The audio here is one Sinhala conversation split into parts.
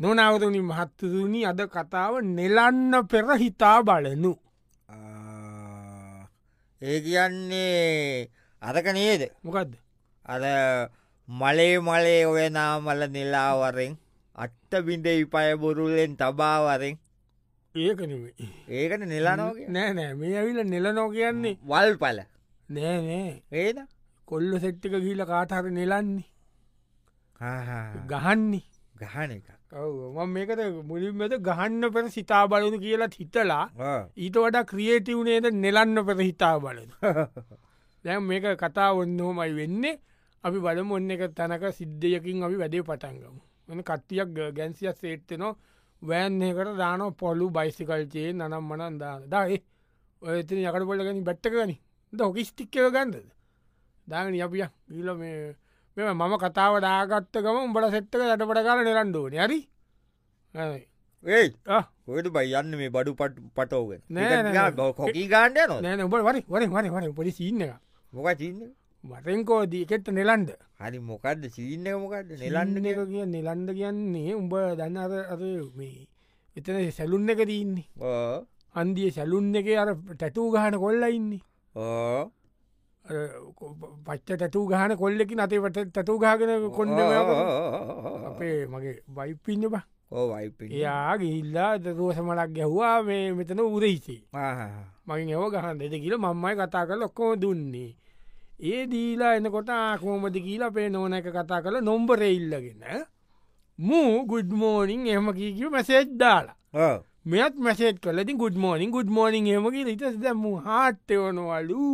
නොනවරුණි මහත්තතුනි අද කතාව නෙලන්න පෙර හිතා බලනු. ආ, ඒ කියන්නේ අරක නේද මොකක්ද අර මලේ මලේ ඔය නාමල නිලාවරෙන් අට්ට බිඳ විපය බොරුලෙන් තබාවරෙන් ඒකනෙවේ ඒකට නිලානෝක නෑනෑ මේ ඇවිල නෙලනෝ කියන්නේ වල් පල නෑනෑ ඒද කොල්ල සෙට්ටික කියීල කාටහර නෙලන්නේ ගහන්නේ ගහන එක ඔව් මම මේකට මුලින්මද ගහන්න පෙර සිතා බලනු කියලා හිතලා ඊට වඩා ක්‍රියේටව් නේද නෙලන්න පෙර හිතා බලන දැ මේක කතා ඔන්නහොමයි වෙන්නේ අපි බලම ඔන්න එක තැනක සිද්ධයකින් අපි වැඩේ පටන්ගම මෙ කට්ටියක් ග- ගැන්සියක් සේට්තනො වෑන්කට දාන පොල්ලු බයිසිකල්චයේ නනම් මනන් දාන දාඒ ඔය එතන යකට පොල්ලගනි බැට්ටකනි ද හොකිස්ටික්කව ගන්ද දාගන අපිය ඊල මේ මෙම මම කතාව දාගත්ත ගම උඹට සෙට්ක යටපට කාල නිරන්ඩෝ යරි ඒයි ඔයට බයියන්න මේ බඩු පට පටෝගෙන නෑ, නෑ, නෑ. කොකී ගාණ්ඩය නො නෑන උඹ වරි වරි වරි වරි පොඩි සිීන්න එක මොක චීන්න වරෙන්කෝදී එකෙත්ත නෙලන්ඩ හරි මොකක්ද සිීන්න එක මොකක්ද නිලන්න නිලන්න එක කිය නිලන්ඩ කියන්නේ උඹ දන්න අර අර මේ එතන සැලුන් එක දීන්නේ හන්දිය සැලුන් එක අර ටැටූ ගහන කොල්ල ඉන්නේ අර කො- පච්ච ටැටූ ගහන කොල්ලෙකි නතේට ටැටූ ගාගෙන කොන්න අපේ මගේ වයිපින්න බා ඕ වයිප එයා ගිල්ලා දරුව සමලක් ගැහ්වා මේ මෙතන උරහිසේ මගින් ඒව ගහන් දෙද කියල මංමයි කතා කල ඔක්කෝ දුන්නේ. ඒ දීලා එනකොට ආකෝමද කියලා පේ නෝන එක කතා කළ නොම්බරේ ඉල්ලගෙන මූ ගුඩ්මෝනිින් එහම කීකිව මැසේජ් දාලා මෙත් මැසේත් කලති ගුඩ්මෝනිින් ගුඩ්මෝනිින් හමකි ඉටස් දැම හාට්‍යවනවලු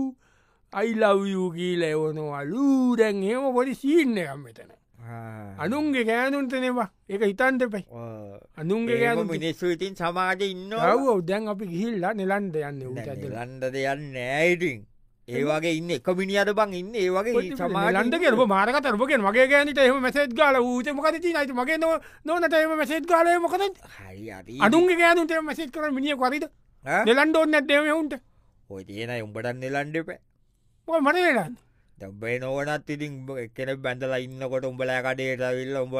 අයිලවූ කියීල එවනවලු දැන් හෙම පොඩි සීන්න එකම් මෙතන. අනුන්ගේ ගෑනුන්ට නෙවා එක හිතන්ට පැයි අනුන්ගේ ගෑනු මිනිස්සු ඉතින් සමාජ ඉන්න ඔව් දැන් අපි ගිහිල්ලා නිලන්ඩ යන්න උට ඇදලා. ලන්ඩ දෙයන්න නෑයිටින් ඒ වගේ ඉන්න එක මිනිියට බං ඉන්න ඒ වගේ ලන්ඩ සමාජන්ට කෙරම මාරකතරපගෙන් මගේ ගෑනට එහම මැසේත් ගල ූත මකද නයිට මගේ නො නොනට එම මැසේත් කාලය මොකද හරි අරි අඩුන්ගේ ගෑනුන්ට මැසේත් කර මිනිිය කරද නෙලන්ඩෝන්න ඇදේවුන්ට ඔය තියෙන උඹටන්න ලන්ඩප මන වෙලන්න දබේ නොවනත් ඉතින් එකන බැඳල ඉන්නකොට උඹලා කඩේට විල්ල උඹ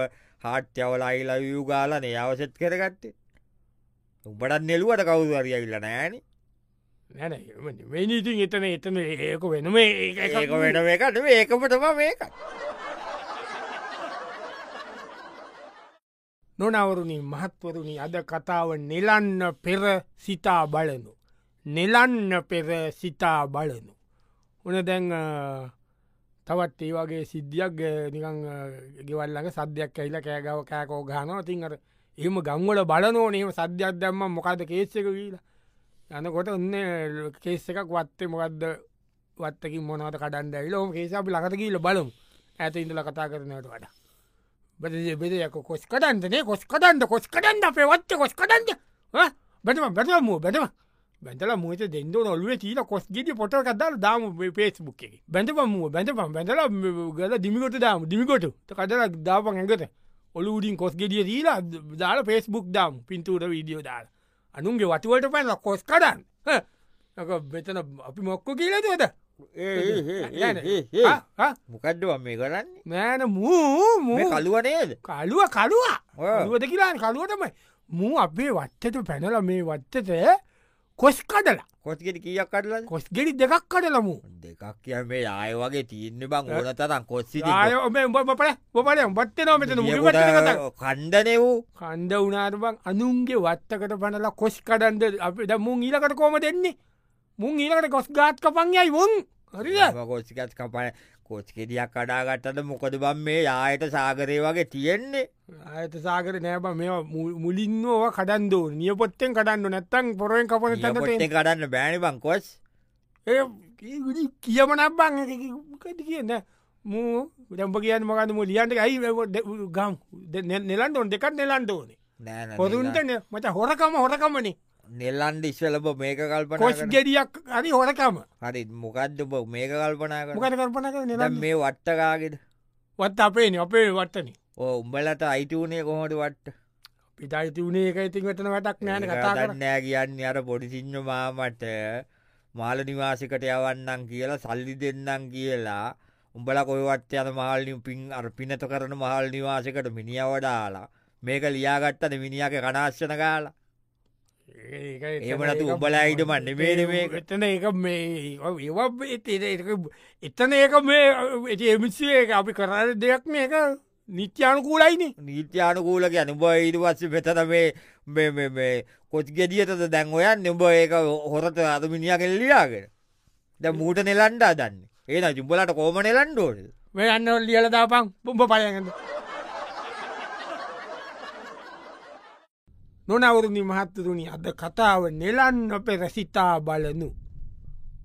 හාට්‍යවලයිලා වූ ගාලන අවසෙත් කරගත්තේ උඹටත් නෙලුවට කවුද අරියවිල්ල නෑන නැන වෙනීතින් එතන එතන ඒක වෙනම ඒක වෙන එකට ඒකමටම මේක නොනවරුණින් මහත්වරුණි අද කතාව නෙලන්න පෙර සිතා බලනු. නෙලන්න පෙර සිතා බලනු. උන දැන් අ, තවත් ඒ වගේ සිද්ධියක් අ, නිකං අ, ගෙවල්ලඟ සද්‍යයක් ඇයිල කෑගව කෑකෝ ගානවා තින් අර එහම ගංවල බලනෝ නම සද්‍යයක් දැම්ම මොකද කේස්සක වීලා යනකොට ඔන්න කේස් එකක් වත්තේ මොකක්ද වත්තකින් මොනවට කඩන්න ඇවිලෝ කේසපි ලකට කියීල බලම් ඇත ඉඳල කතා කරනට වඩා. බදේ බෙදයක කොස් කඩන්දනේ කොස් කඩන්ද කොස් කඩන්ද අපේ වත්ත කොස් කඩන්ද බැටම බැටම මූ බැටම බැඳල මුවත දෙද නොල්ුවේ චීල කොස් ගිටි පොට කදල් දාම පේස්බුක් එක බැඳප මුව බැඳපම් බැඳල ගල දිමිකොට දාම දිමිකොට කදල දාපන් ඇඟත ඔලු උඩින් කොස් ගෙඩිය දීලා දාල පේස්බුක් දාම් පින්තූට වීඩියෝ දාල අනුන්ගේ වටුවට පැල කොස් කඩන් බෙතන අපි මොක්කෝ කියලද මොකඩ්ඩ මේ කරන්නේ නෑන මූ මේ මූ කලුවනේද කලුව කලුවා ඔව්. කලුවද කියලාන කලුවටම මූ අපේ වත්තට පැනල මේ වත්තත කොස් කඩලා කොස්ගෙට කියක් කටලද කොස් ගෙඩි දෙකක් කඩලමු දෙකක් කිය මේ ආය වගේ තියන්න බං ඕන තරම් කොස්සි බපල බපල බත්ත නොමතන මුට කණ්ඩනය වූ කණ්ඩ වනාරබං අනුන්ගේ වත්තකට පනලා කොස් කඩන්ද අප මුන් ඊලකට කෝම දෙන්නේ මුන් ඊලකට කොස් ගාත් කපන්යයි මුන් හරිද කොස්සිකත් කපන කොස්කෙටියක් කඩාගත්තද මොකද බම් මේ යායට සාගරය වගේ තියෙන්නේ ඇත සාකර නෑබ මෙ මුලින්ව කඩන්දෝ නියපොත්තෙන් කඩන්න නැත්තන් පොරුවෙන් කපන තැනට ොට්ට කඩන්න බෑන බං කොස් ඒ ඒ කියමන බං කට කියන්න මූ දැම්ප කියන්න මකන්න මු ලියන්ට ඇයි ගම් නෙලන්ට ඔොන් දෙකක් නෙලන්ට ඕනේ නෑ පොදුන්ට මට හොරකම හොරකමනේ නෙල්ලන්ඩ ඉස්වලබ මේක කොස් කල්පන ගෙඩියක් අරි හොරකම හරි මොකක්ද බ මේක කල්පනා කර මොකට කරපන කර දැන් නෙලන්න මේ වට්ටකාගෙට වත් අපේන අපේ වටන ඕ උඹලට අයිටවනේ කොහොට වට්ට පිටයිති වනේ එක ඉතින් වෙටන වැටක් නෑන කතා කර නෑ කියන්න අර පොඩිසිංහ මාමට මාල නිවාසිකට යවන්නම් කියලා සල්ලි දෙන්නම් කියලා උඹල කොයවත් යන මහල්ලින් පින් අර පිනත කරන මහල් නිවාසකට මිනිියවඩාලා මේක ලියාගත්තන මිනිියක කනාශ්‍යන කාලා ඒක- එහෙම එතන නැතු ඒක උඹලා ඉඩමන් නෙමේනේ මේක. එතන එක මේ ඒවා එතන ඒක- එතන ඒක මේ එමිසේ එක අපි කරන්න දෙයක් මේක නිත්‍යානුකූලයින නීත්‍යානුකූල ගැන උඹ ඊට පස්ස පෙතන මේ මේ කොච් ගෙදියතද දැන් ඔයන් උඹ ඒක හොරත අද මිනිියකෙන් ලියාගෙන ද මූට නෙලන්ඩා දන්න ඒන ජුම්බලට කෝම නෙලන්ඩෝල් මේ අන්න ලියල දාපන් පුම්ප පලයගන්න නොනවුරුණි මහත්තතුනි අද කතාව නෙලන්න පෙර සිතා බලනු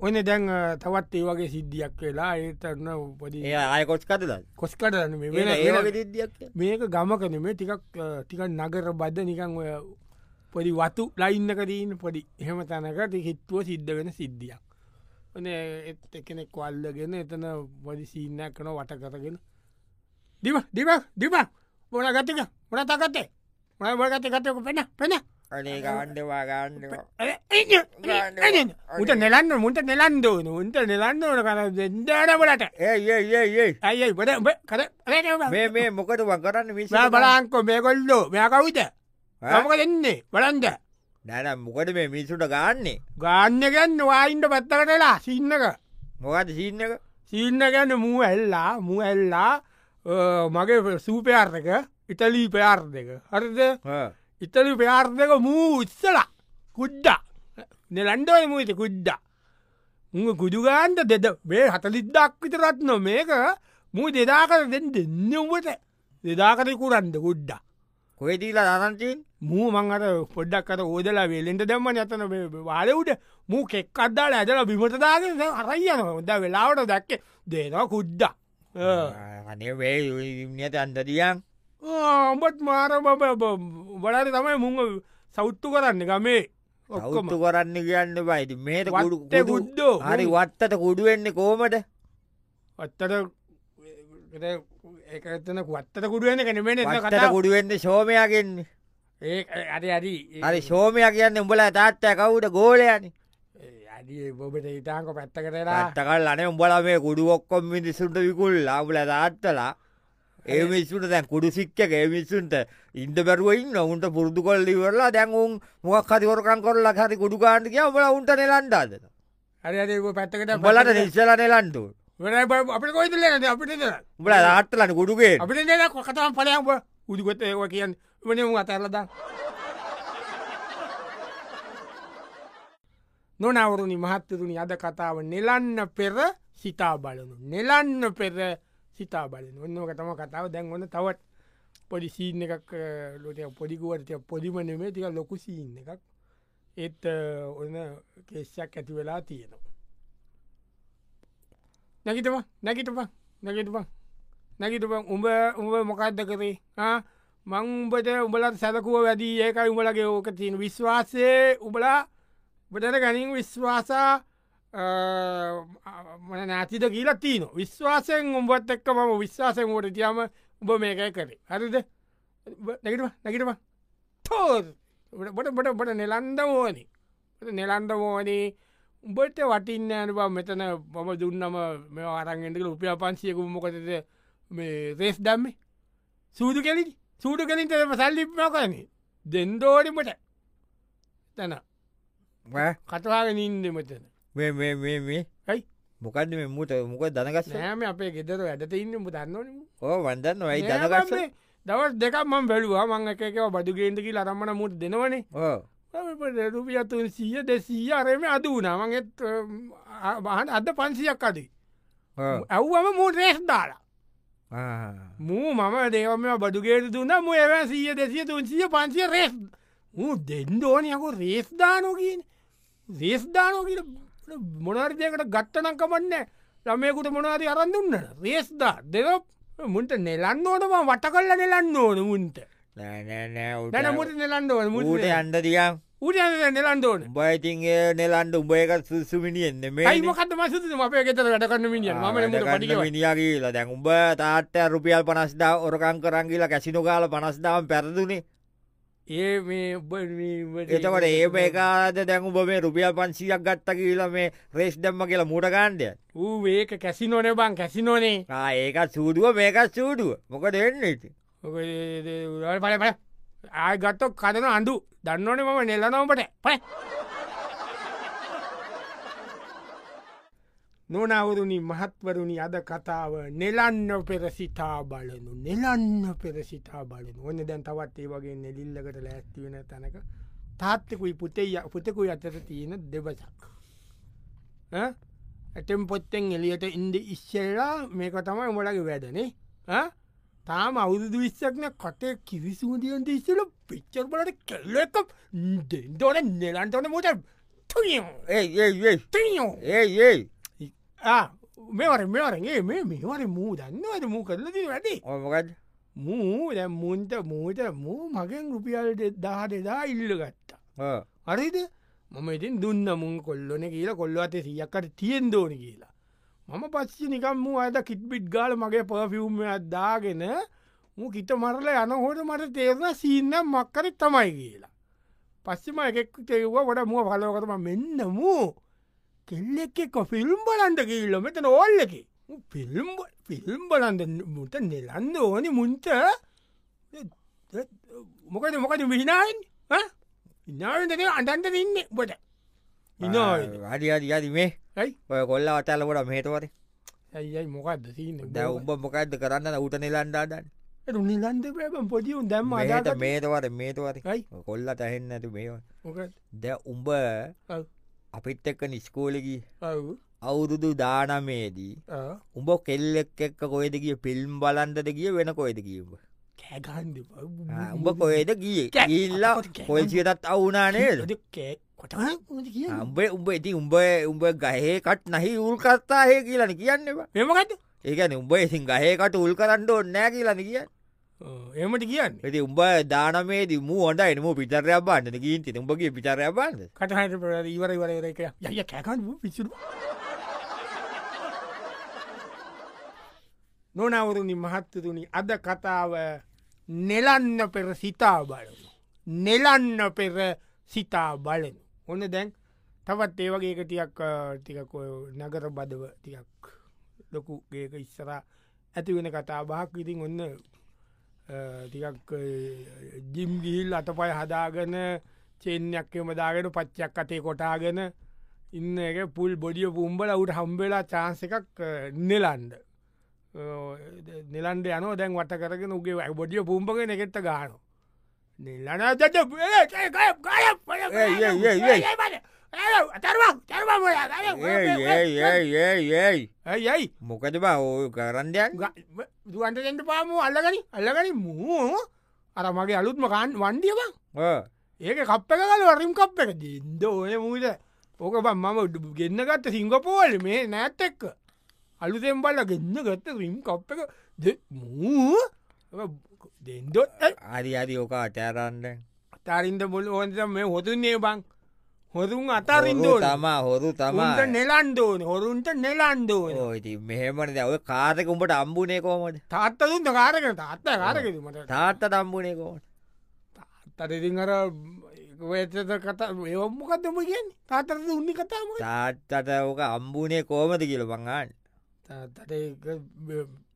ඔන දැන් අ, තවත් ඒ වගේ සිද්ධියක් වෙලා ඒතරන උපදී ඒ අයකොස් කතද කොස්කටන ඒ දිදක් මේක ගමකන මේ ටිකක් අ, ටිකක් නගර බද්ධ නිකං ඔය පොඩි වතු ලයින්නකදීන පොඩි එහෙම තැනකට හිත්තුව සිද්ධ වෙන සිද්ධියක් ඔන එත් එකනෙක් වල්ලගෙන එතන පොඩි සීනයක් කන වට කරගෙන දිව දිව දිව මොන ගතික මොන තකතේ මොන වගත ගතයක පෙන පෙන අනේ ගණ්ඩවා ගණ්ඩවා උට නෙලන්න මුට නෙලන් දෝන උන්ට නෙලන්න ඕන කර දෙදානවලට ඒ ඒ ඒ ඇයි බඩ කර මේ මේ මොකට වකරන්න විශ බලාංකෝ මේකොල්ලෝ මෙයකවිත මක දෙන්නේ බලන්ද නැනම් මොකට මේ මිනිසුට ගන්නේ ගාන්න ගැන්න වායින්ට පත්තකටලා සින්නක මොකද සිීන්නක සින්න ගැන්න මූ ඇල්ලා මූ ඇල්ලා අ, මගේ සූපයාර්ථක ඉටලී පයාර් දෙක හරිද ඉතලි පයාර් දෙක මූ උත්සල කුඩ්ඩා නෙලන්ඩෝය මූත කුඩ්ඩා උ ගුඩුගාන්ට දෙද මේ හතලිද්දක් විතරත් නො මේක මූ දෙදාකර දෙන්න දෙන්න උඹට දෙදාකර කුරන්ද කුඩ්ඩා කොයිදීලා දනන්චීන් මූ මංහට පොඩ්ඩක් අත ඕදලා වෙලෙන්ට දැම්ම යතන වාලෙවුට මූ කෙක් අද්දාල ඇදල බිමටදාගෙන අරයන ොද වෙලාවට දැක්කේ දේනවා කුද්ඩා අනේ වේ නියත අන්දදියන් ඔඹත් මාර බලට තමයි මුං සෞත්තු කරන්න ගමේ ඔක්කොම ඔක්තු කරන්න කියන්න බයිති මේට ගුඩු වත්තේ ගුද්දෝ හරි වත්තට කුඩුවෙන්නේ කෝමට වත්තට ඒ එතන වත්තට කුඩුවෙන කනෙමෙන වත්තට කතා කුඩුවෙන්නේ ශෝමයගෙන්නේ ඒ අරි අරි හරි ශෝමය කියන්න උඹලා තාත්තය කවුට ගෝලයනි අඩි බොබට ඉතාක පැත්ත කරලා අත්තකල් අනේ උඹලා මේ කුඩු ඔක්කොම් මිනිසුන්ට විකුල් අඹල තාත්තලා ඒ මිස්සුට දැන් කුඩු සික්්‍යක ඒ මිස්සුන්ට ඉන්ද බැරුවයින් ඔවුන්ට පුරදු කොල් ඉවරලා දැන් උන් මොක් හරිවරකන් කොල්ලා හරි කුඩු කාණ්ඩ කිය උඹල උන්ට නෙලන්ඩාද හරි අරි පැත්තකට උඹලට නිස්සල නෙලන්ඩු වෙන අපි කොයිතුලන අපිට දෙන උඹල තාත්තලන කුඩුගේ අපිට දෙන කොකතම පලයම්බ උදුගොත ඒව කියන්න වන අතරලද නොනවරුණි මහත්තතුනි අද කතාව නෙලන්න පෙර සිතා බලනු නෙලන්න පෙර සිතා බලන ඔන්නක තම කතාව දැන් ඔන්න තවත් පොඩි සීන් එකක් ලොට පොඩිකුවට පොඩිමනමේ තික ලොකු සීන් එකක් ඒත් අ, ඔන්න කේෂයක් ඇති වෙලා තියෙනවා නැගිටම නැගිටප නැගිටපා නැගිට උඹ උඹ මොකක්ද කරේ ආ? මං උඹට උඹලත් සැලකුව වැදී ඒකයි උඹලගේ ඕක තියෙන විශ්වාසය උබලා බටට ගැනින් විශ්වාසා මන නැතිද කියලා තියන විශ්වාසයෙන් උඹත් එක්ක මම විශ්වාසයෙන් ෝට තියම උඹ මේකයි කරේ හරිද නැගටම නැගටම තෝ බට බට බට නෙලන්ද ඕනි නෙලන්ද ඕනේ උඹට වටින්න ඇන බව මෙතන මම දුන්නම මෙ අරගෙන්ටක උපිය පන්සියකු මොකතද මේ රේස් දම්ම සූදු කෙලි සූඩු කලින් තම සල්ලිප්නා කරන්නේ දෙන්දෝඩිමට තැන කටවාගෙන ඉන්ද මෙතන මේ මේ මේ මේ ඇයි? මොකද මේ මුට මොක දනගස් නෑම අපේ ගෙදර වැඩට ඉන්නම දන්නවනම ඕ වන්දන්න ඔයි දනගස්ස දවස් දෙකක් ම බැලවා මං එකකව බදුගේෙන්ටකි ලරම්මන මුට දෙනවනේ ඕ රුපියතුන් සීය දෙසීය අරම අද වනාමගේත් බහන් අද පන්සියක් අදී ඕ ඇව්වම මූ රේස් දාලා ආ. මූ මම දේවම බඩුගේට දුන්න මු එව සීය දෙසිය තුන්සිය පන්සිය රේස් මූ දෙන්ඩෝනයකු රේස්ධානෝකීන් රේස්ධානෝකට මොනර්දයකට ගත්තනම් කමන්න ළමයකුට මොනාරි අරන් දුන්න රේස්දා දෙව මුන්ට නෙලන්න ඕනම වට කල්ල නෙලන්න ඕන මුන්ට නෑ නෑ නෑ උට දැන මුට නෙලන්න ඕන මු ඌට අන්ඩ දියම් උට නෙලන්න ඕන බයිතින් නෙලන්ඩ උඹයක සුසුමිනියෙන්න්න යිමකත් මසුතු අපේ ගෙතර වැඩ කන්න මිිය ම පඩිගවයි මිනිියගේලා දැන් උඹ තාත්ත රුපියල් පනස්දා ඔරකං කරංගිලා කැසිනු කාල පනස්දාම් පැරදුනේ ඒ මේ ඔබ එතකට ඒ ඒකාද දැන් උඹ මේ රුපියල් පන්සියක් ගත්ත කියලා මේ රේස් දෙම්ම කියලා මූට ගණ්ඩය ඌ ඒක කැසිනෝනේ බං කැසිනෝනේ ඒකත් සූඩුව මේකත් සූඩුව මොක දෙන්න ඉති පල පල ආයගත්තොක් කරන අඳු දන්නවන මම නෙලනෝමට ප නොනවුරුණි මහත්වරුණි අද කතාව නෙලන්න පෙරසිතා බලනු නෙලන්න පෙරසිතා බලන ඔන්න දැන් තවත් ඒ වගේ නෙලිල්ලකට ලැස්තිවෙන තැනක තාත්තකුයි පුතේ ය- පුතෙකුයි අතර තියෙන දෙවසක් ඈ? ඇටම් පොත්තෙන් එලියට ඉන්ඩ ඉස්සෙල්ලා මේක තමයි උමලගේ වැඩනේ ඈ? තාම අවුදු විස්සක්න කටේ කිවිසුදියන්ට ඉස්සල පිච්චර් බලට කෙල්ල එක දොන නෙලන්ටන මොට තුියෝ ඒඒඒ තිියෝ ඒඒ මෙවර මෙවරගේ මේ මෙවර මූ දන්නවට මූ කරලති වැඩි ඕමකත් මූ දැ මුන්ට මූට මූ මගෙන් රුපියල් දහ දෙදා ඉල්ල ගත්තා හරිද මම ඉතින් දුන්න මුන් කොල්ලොන කියලා කොල්ල අතේ සියක්කට තියෙන් දෝන කියලා මම පස්ස නිකම් මූ අද කිට්බිට් ගාල මගේ පෆිවම්මයක් දාගෙන මු කිට මරල යනහොට මට තේරණ සීන්නම් මක්කර තමයි කියලා පස්සෙම එකෙක් තෙව්වා ගොඩ මුව පලෝකරම මෙන්න මූ කෙල්ලෙක්ෙ කොෆිල්ම් බලන්ද කියල්ල මෙත නොල්ලකි ෆිල්ම් ෆිල්ම් බලන්ද මුට නෙලන්න ඕනි මුන්ට මොකද මොකද විනාෙන් ඉනාටක අටන්ට ඉන්න බොට ඉනායි හරි හරි හරි මේ ඇයි ඔය කොල්ල අතල්ලකොට මේටවර ඇයි මොකක්ද සිීන දැ උඹ මොකක්ද කරන්න උට නිලන්ඩාඩන් නිලන්ද පැම පොටියුන් දැම්ම අදාට මේටවර මේටවර ඇයි කොල්ල තහෙන්න ඇතු මේ මොක දැ උඹ ඔව්. අපිත් එක්ක නිස්කෝලකි Ah, අවුරුදු දානමේදී උඹ කෙල්ලෙක් එක්ක කොයිද කිය පිල්ම් බලන්ටද කිය වෙන කොයිද කියීම කෑගන්ද උඹ කොයද ගිය කෑ- ඉල්ලා අපට කෑ කොයිසියටත් අවුනානේද කොට කිය උඹේ උඹ ඉති උඹ උඹ ගහේකට නහි උල් කත්තාහය කියලන කියන්නවා මෙමකත් ඒකන උඹ ඉසින් ගහේකට උල් කරන්න ඕන්නෑ කියලන කිය එමට කියන්න ඇති උඹ දානමේදී මූ හොට එනම පිචරයක් බන්න ගීන්ති උඹගේ පිචරයක් බන්න කටහට ප ඉවර වරක යය කෑකන් පිසිරු නොනවරුණි මහත්තතුනි අද කතාව නෙලන්න පෙර සිතා බලනු. නෙලන්න පෙර සිතා බලනු. ඔන්න දැන් තවත් ඒ වගේ එකටියක් ටිකක නගර බදව තියක් ලොකුගේක ඉස්සර ඇති වෙන කතා බාක් ඉතින් ඔන්න තිකක් ජිම්ගිහිල් අතපයි හදාගන චෙන්යක් එමදාගෙන පච්චයක් අතේ කොටාගෙන ඉන්න එක පුල් බොඩිය පුම්බල උට හම්බෙලා චාන්ස එකක් නෙලන්ඩ නිලන්ඩ යන දැන් වට කරගෙන උගේ ඇ බොඩිය පුම්පගෙන එකෙත්ත ගාන නිල්ලන අතරවා ඒ, ඒ, ඒ, ඒ. ඒයි ඒයි චර්වා ඒයි ඒයි ඒයි ඇයි මොකද බා ඕය කරන්ඩයන් දුවන්ටෙන්ට පාම අල්ලගනි අල්ලගනි මූ අර මගේ අලුත්ම කාන් වන්ඩියව ඒක කප් එක කල වරිම් කප් එක දින්ද ඕන මූද ඕක බන් මම උඩ- ගෙන්නගත්ත සිංගපෝල් මේ නෑත් එක්ක අලුතෙන් බල්ල ගෙන්න්න ගත්ත රිම් කප් එක ද- මූ දෙන්දොත් අරි අරි ඕක අටෑරන්ඩ අතාරින්ද බොල ඕන්ස මේ හොතුන්නේ බං හොරුන් අතාරින්දෝ තමා හොරු තමට තමා නෙලන්දෝන හොරුන්ට නෙලන්දෝන ඉති මෙහෙමට ඔය කාරක උඹට අම්බුනේ කෝමට තාත්තතුන්ට කාරකෙන තාත්ත කාරකෙරීමට තාත්ත අම්බුනේ කෝට තරිතින් අර වේත කතා ඒවම්මකතම කියෙන් තාතර උන්නි කතාම තාත්තට ඕක අම්බුනේ කෝමද කියල බංගන්න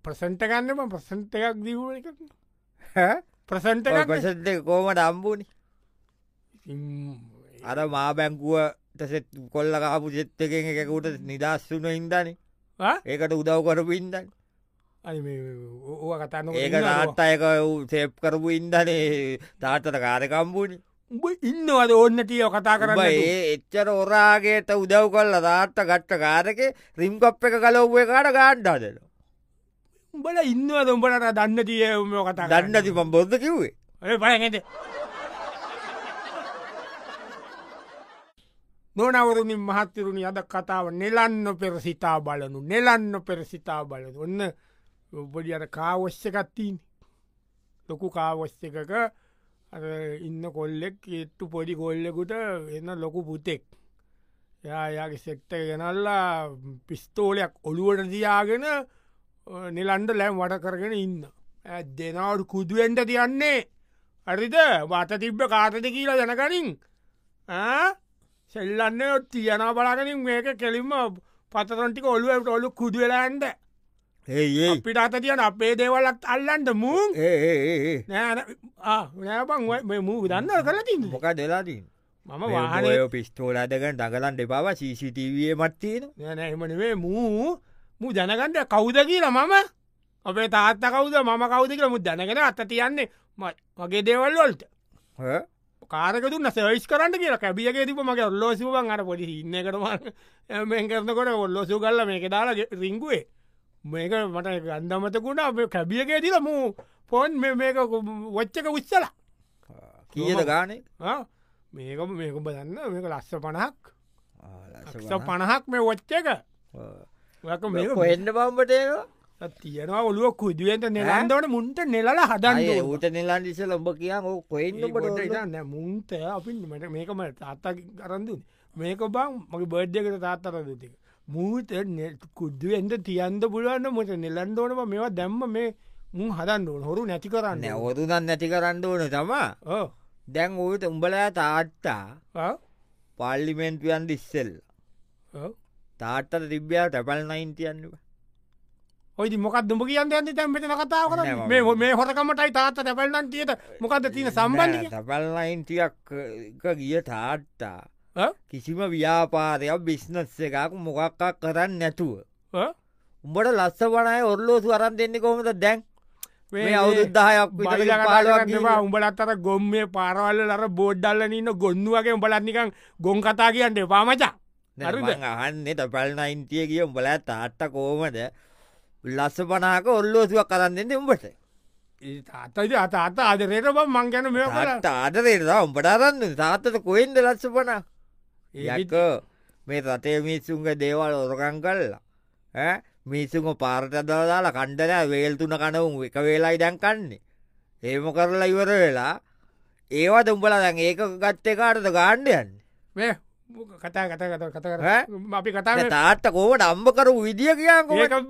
ප්‍රසන්ට ගන්නම ප්‍රසන්ට එකක් දීවුණ එක ප්‍රසන්ට පසට කෝමට අම්බුණ අර මා බැංකුවට සෙත් කොල්ල කාපු සෙත්තකෙන් එකකුට නිදස්සුන ඉන්දන ඒකට උදව් කරපු ඉන්දන් ඕ කතන්න ඒක තාත්ත අයක සේප් කරපු ඉන්දනේ තාත්තට කාරකම්බුණ උඹ ඉන්නවද ඔන්න තියව කතා කරන්න ඒ නැතුව? එච්චර ඔරාගේට උදව් කල්ල තාත්ත ගට්ට කාරක රිම්කප් එක කලව්ේ කාට ගාණ්ඩාදල උඹල ඉන්නවද උඹලට දන්න තිය උම කතා කරන්න? දන්නති පම් බොද්ධ කිව්වේ ඔය පයගට නොනවරුණින් මහත්තරුණි අද කතාව නෙලන්න පෙරසිතා බලනු නෙලන්න පෙරසිතා බලන ඔන්න ඔබඩි අර කාවශ්‍යකත්තින් ලොකු කාවශ්‍යකක අර ඉන්න කොල්ලෙක් ඒත්තු පොඩි කොල්ලෙකුට එන්න ලොකු පුතෙක් යායාගේ සෙක්ට ගෙනල්ලා පිස්තෝලයක් ඔළුවට දයාගෙන නිලන්ඩ ලෑම් වට කරගෙන ඉන්න ඇ දෙනවට කුදුවෙන්ට තියන්නේ හරිද වාත තිබ්බ කාතද කියලා දැනකරින් සෙල්ලන්න තියන බලාගනින් මේක කෙලින්ම පතරටික ඔල්ුවට ඔලු කුදුවෙලාන්ද ඒ අපිට අත තියන අපේ දේවලත් අල්ලන්ට මූන් ඒ නෑනෑබං මූ දන්න කරලතින්න මොක දෙලාදී මම වාහනය පිස්තෝලාදකන් දඟලන් දෙබව සිසිටවේ මත්තියෙන එමනේ මූ මූ ජනගන්ඩ කෞුද කියලා මම අපේ තාත්ත කවුද මම කවුද කියලා මුත් දැනගෙන අත්ත තියන්නේ ම- වගේ දේවල්වොල්ට කාරකතු සවිස් කරන්න කියලා කැබියගේ තිබ මගේ ඔල්ලෝසිවන් අර පොඩි ඉන්න කරම මෙ කරනකොට ඔල්ලෝසු කල්ල මේක දාලා ගෙ- රිංගුවේ මේක මට ගන්ධමතකුණා අප කැබියගේ තිල මූ පොන් මේ- මේක කො- වච්චක උච්චල කියද ගානේ මේක මේක බදන්න මේක ලස්ස පණහක් ලක්ෂ පණහක් මේ වච්චක කොහෙන්න බම්බටේ තියෙනවා ඔලුව කුදුවෙන්ට නෙලන්දවන මුන්ට නෙලලා හදන්න ඌට නිලන් ඉසල ඔඹ කියන්න ඕ කොහෙන්නට ඉන්න මුන්ත අපි මට මේකම තාත්තා කරන්දුන මේක බං මගේ බර්ඩ්යකට තාත්තර දෙතික මූත කුද්දුවෙන්ට තියන්ද පුළුවන්න මට නිලන්දෝනම මේවා දැම්ම මේ මුන් හදන්න ඕන හොරු නැති කරන්න නැවතු දන් නැති කරන්න ඕන තමා ඕ දැන් ඌට උඹලා තාට්ටා පල්ලිමෙන්ට්වියන් ඉස්සෙල් තාට්ටට තිබ්‍යා ටැපල් නයින් තියන්න ඔයි මොකක් දුම කියන්න ඇති තැම්පෙන කතාව කර මේ හො- මේ හොරකමටයි තාත්ත තැපල්ලන් තියට මොකක්ද තියෙන සම්බන්ධ තැපල් නයින්ටක් ගිය තාට්ටා කිසිම ව්‍යාපාරයක් බිස්නස් එකක් මොකක්කක් කරන්න නැතුව උඹට ලස්ස වනයි ඔරලෝසු අරන් දෙන්න කොමද දැන් මේ අවුරුද්ධායක් බලිලවා උඹලත් අර ගොම්මේ පාරවල්ල ලර බෝඩ්ඩල්ල ඉන්න ගොන්නුවගේ උඹලත්නිකන් ගොන් කතා කියන්න පාමචා හරිද? අහන්නේ තැපල් නයින්තිය කිය උඹල තාට්ට කෝමද ලස්ස පනාක ඔල්ලෝසුවක් කරන්න දෙන්න උඹට අතයිද අත අත අදරයට බ මං ගැන මෙ කර තාටරේලා උඹට අරන්න තාත්තට කොයින්ද ලස්ස පනා යක මේ රටේ මිනිස්සුන්ග දේවල් ඔරකං කල්ලා ඈ? මිනිස්සුම පාර්ට දදාලා කණ්ඩලා වේල් තුන කනවුම් එක වෙලායි දැන් කන්නේ ඒම කරලා ඉවර වෙලා ඒවා දුම්ඹල දැන් ඒක ගත්තේ කාටද ගාණ්ඩයන්න මේ කතා කත කත කත කර ඈ? අපි කතා තාත්ත කෝවට අම්බ කරු විදිිය කියකෝ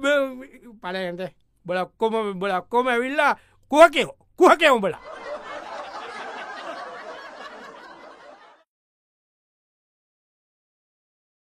පලයන්ට බලක්කොම බලක්කොම ඇවිල්ලා කුවකෝ කුවකේ උඹලා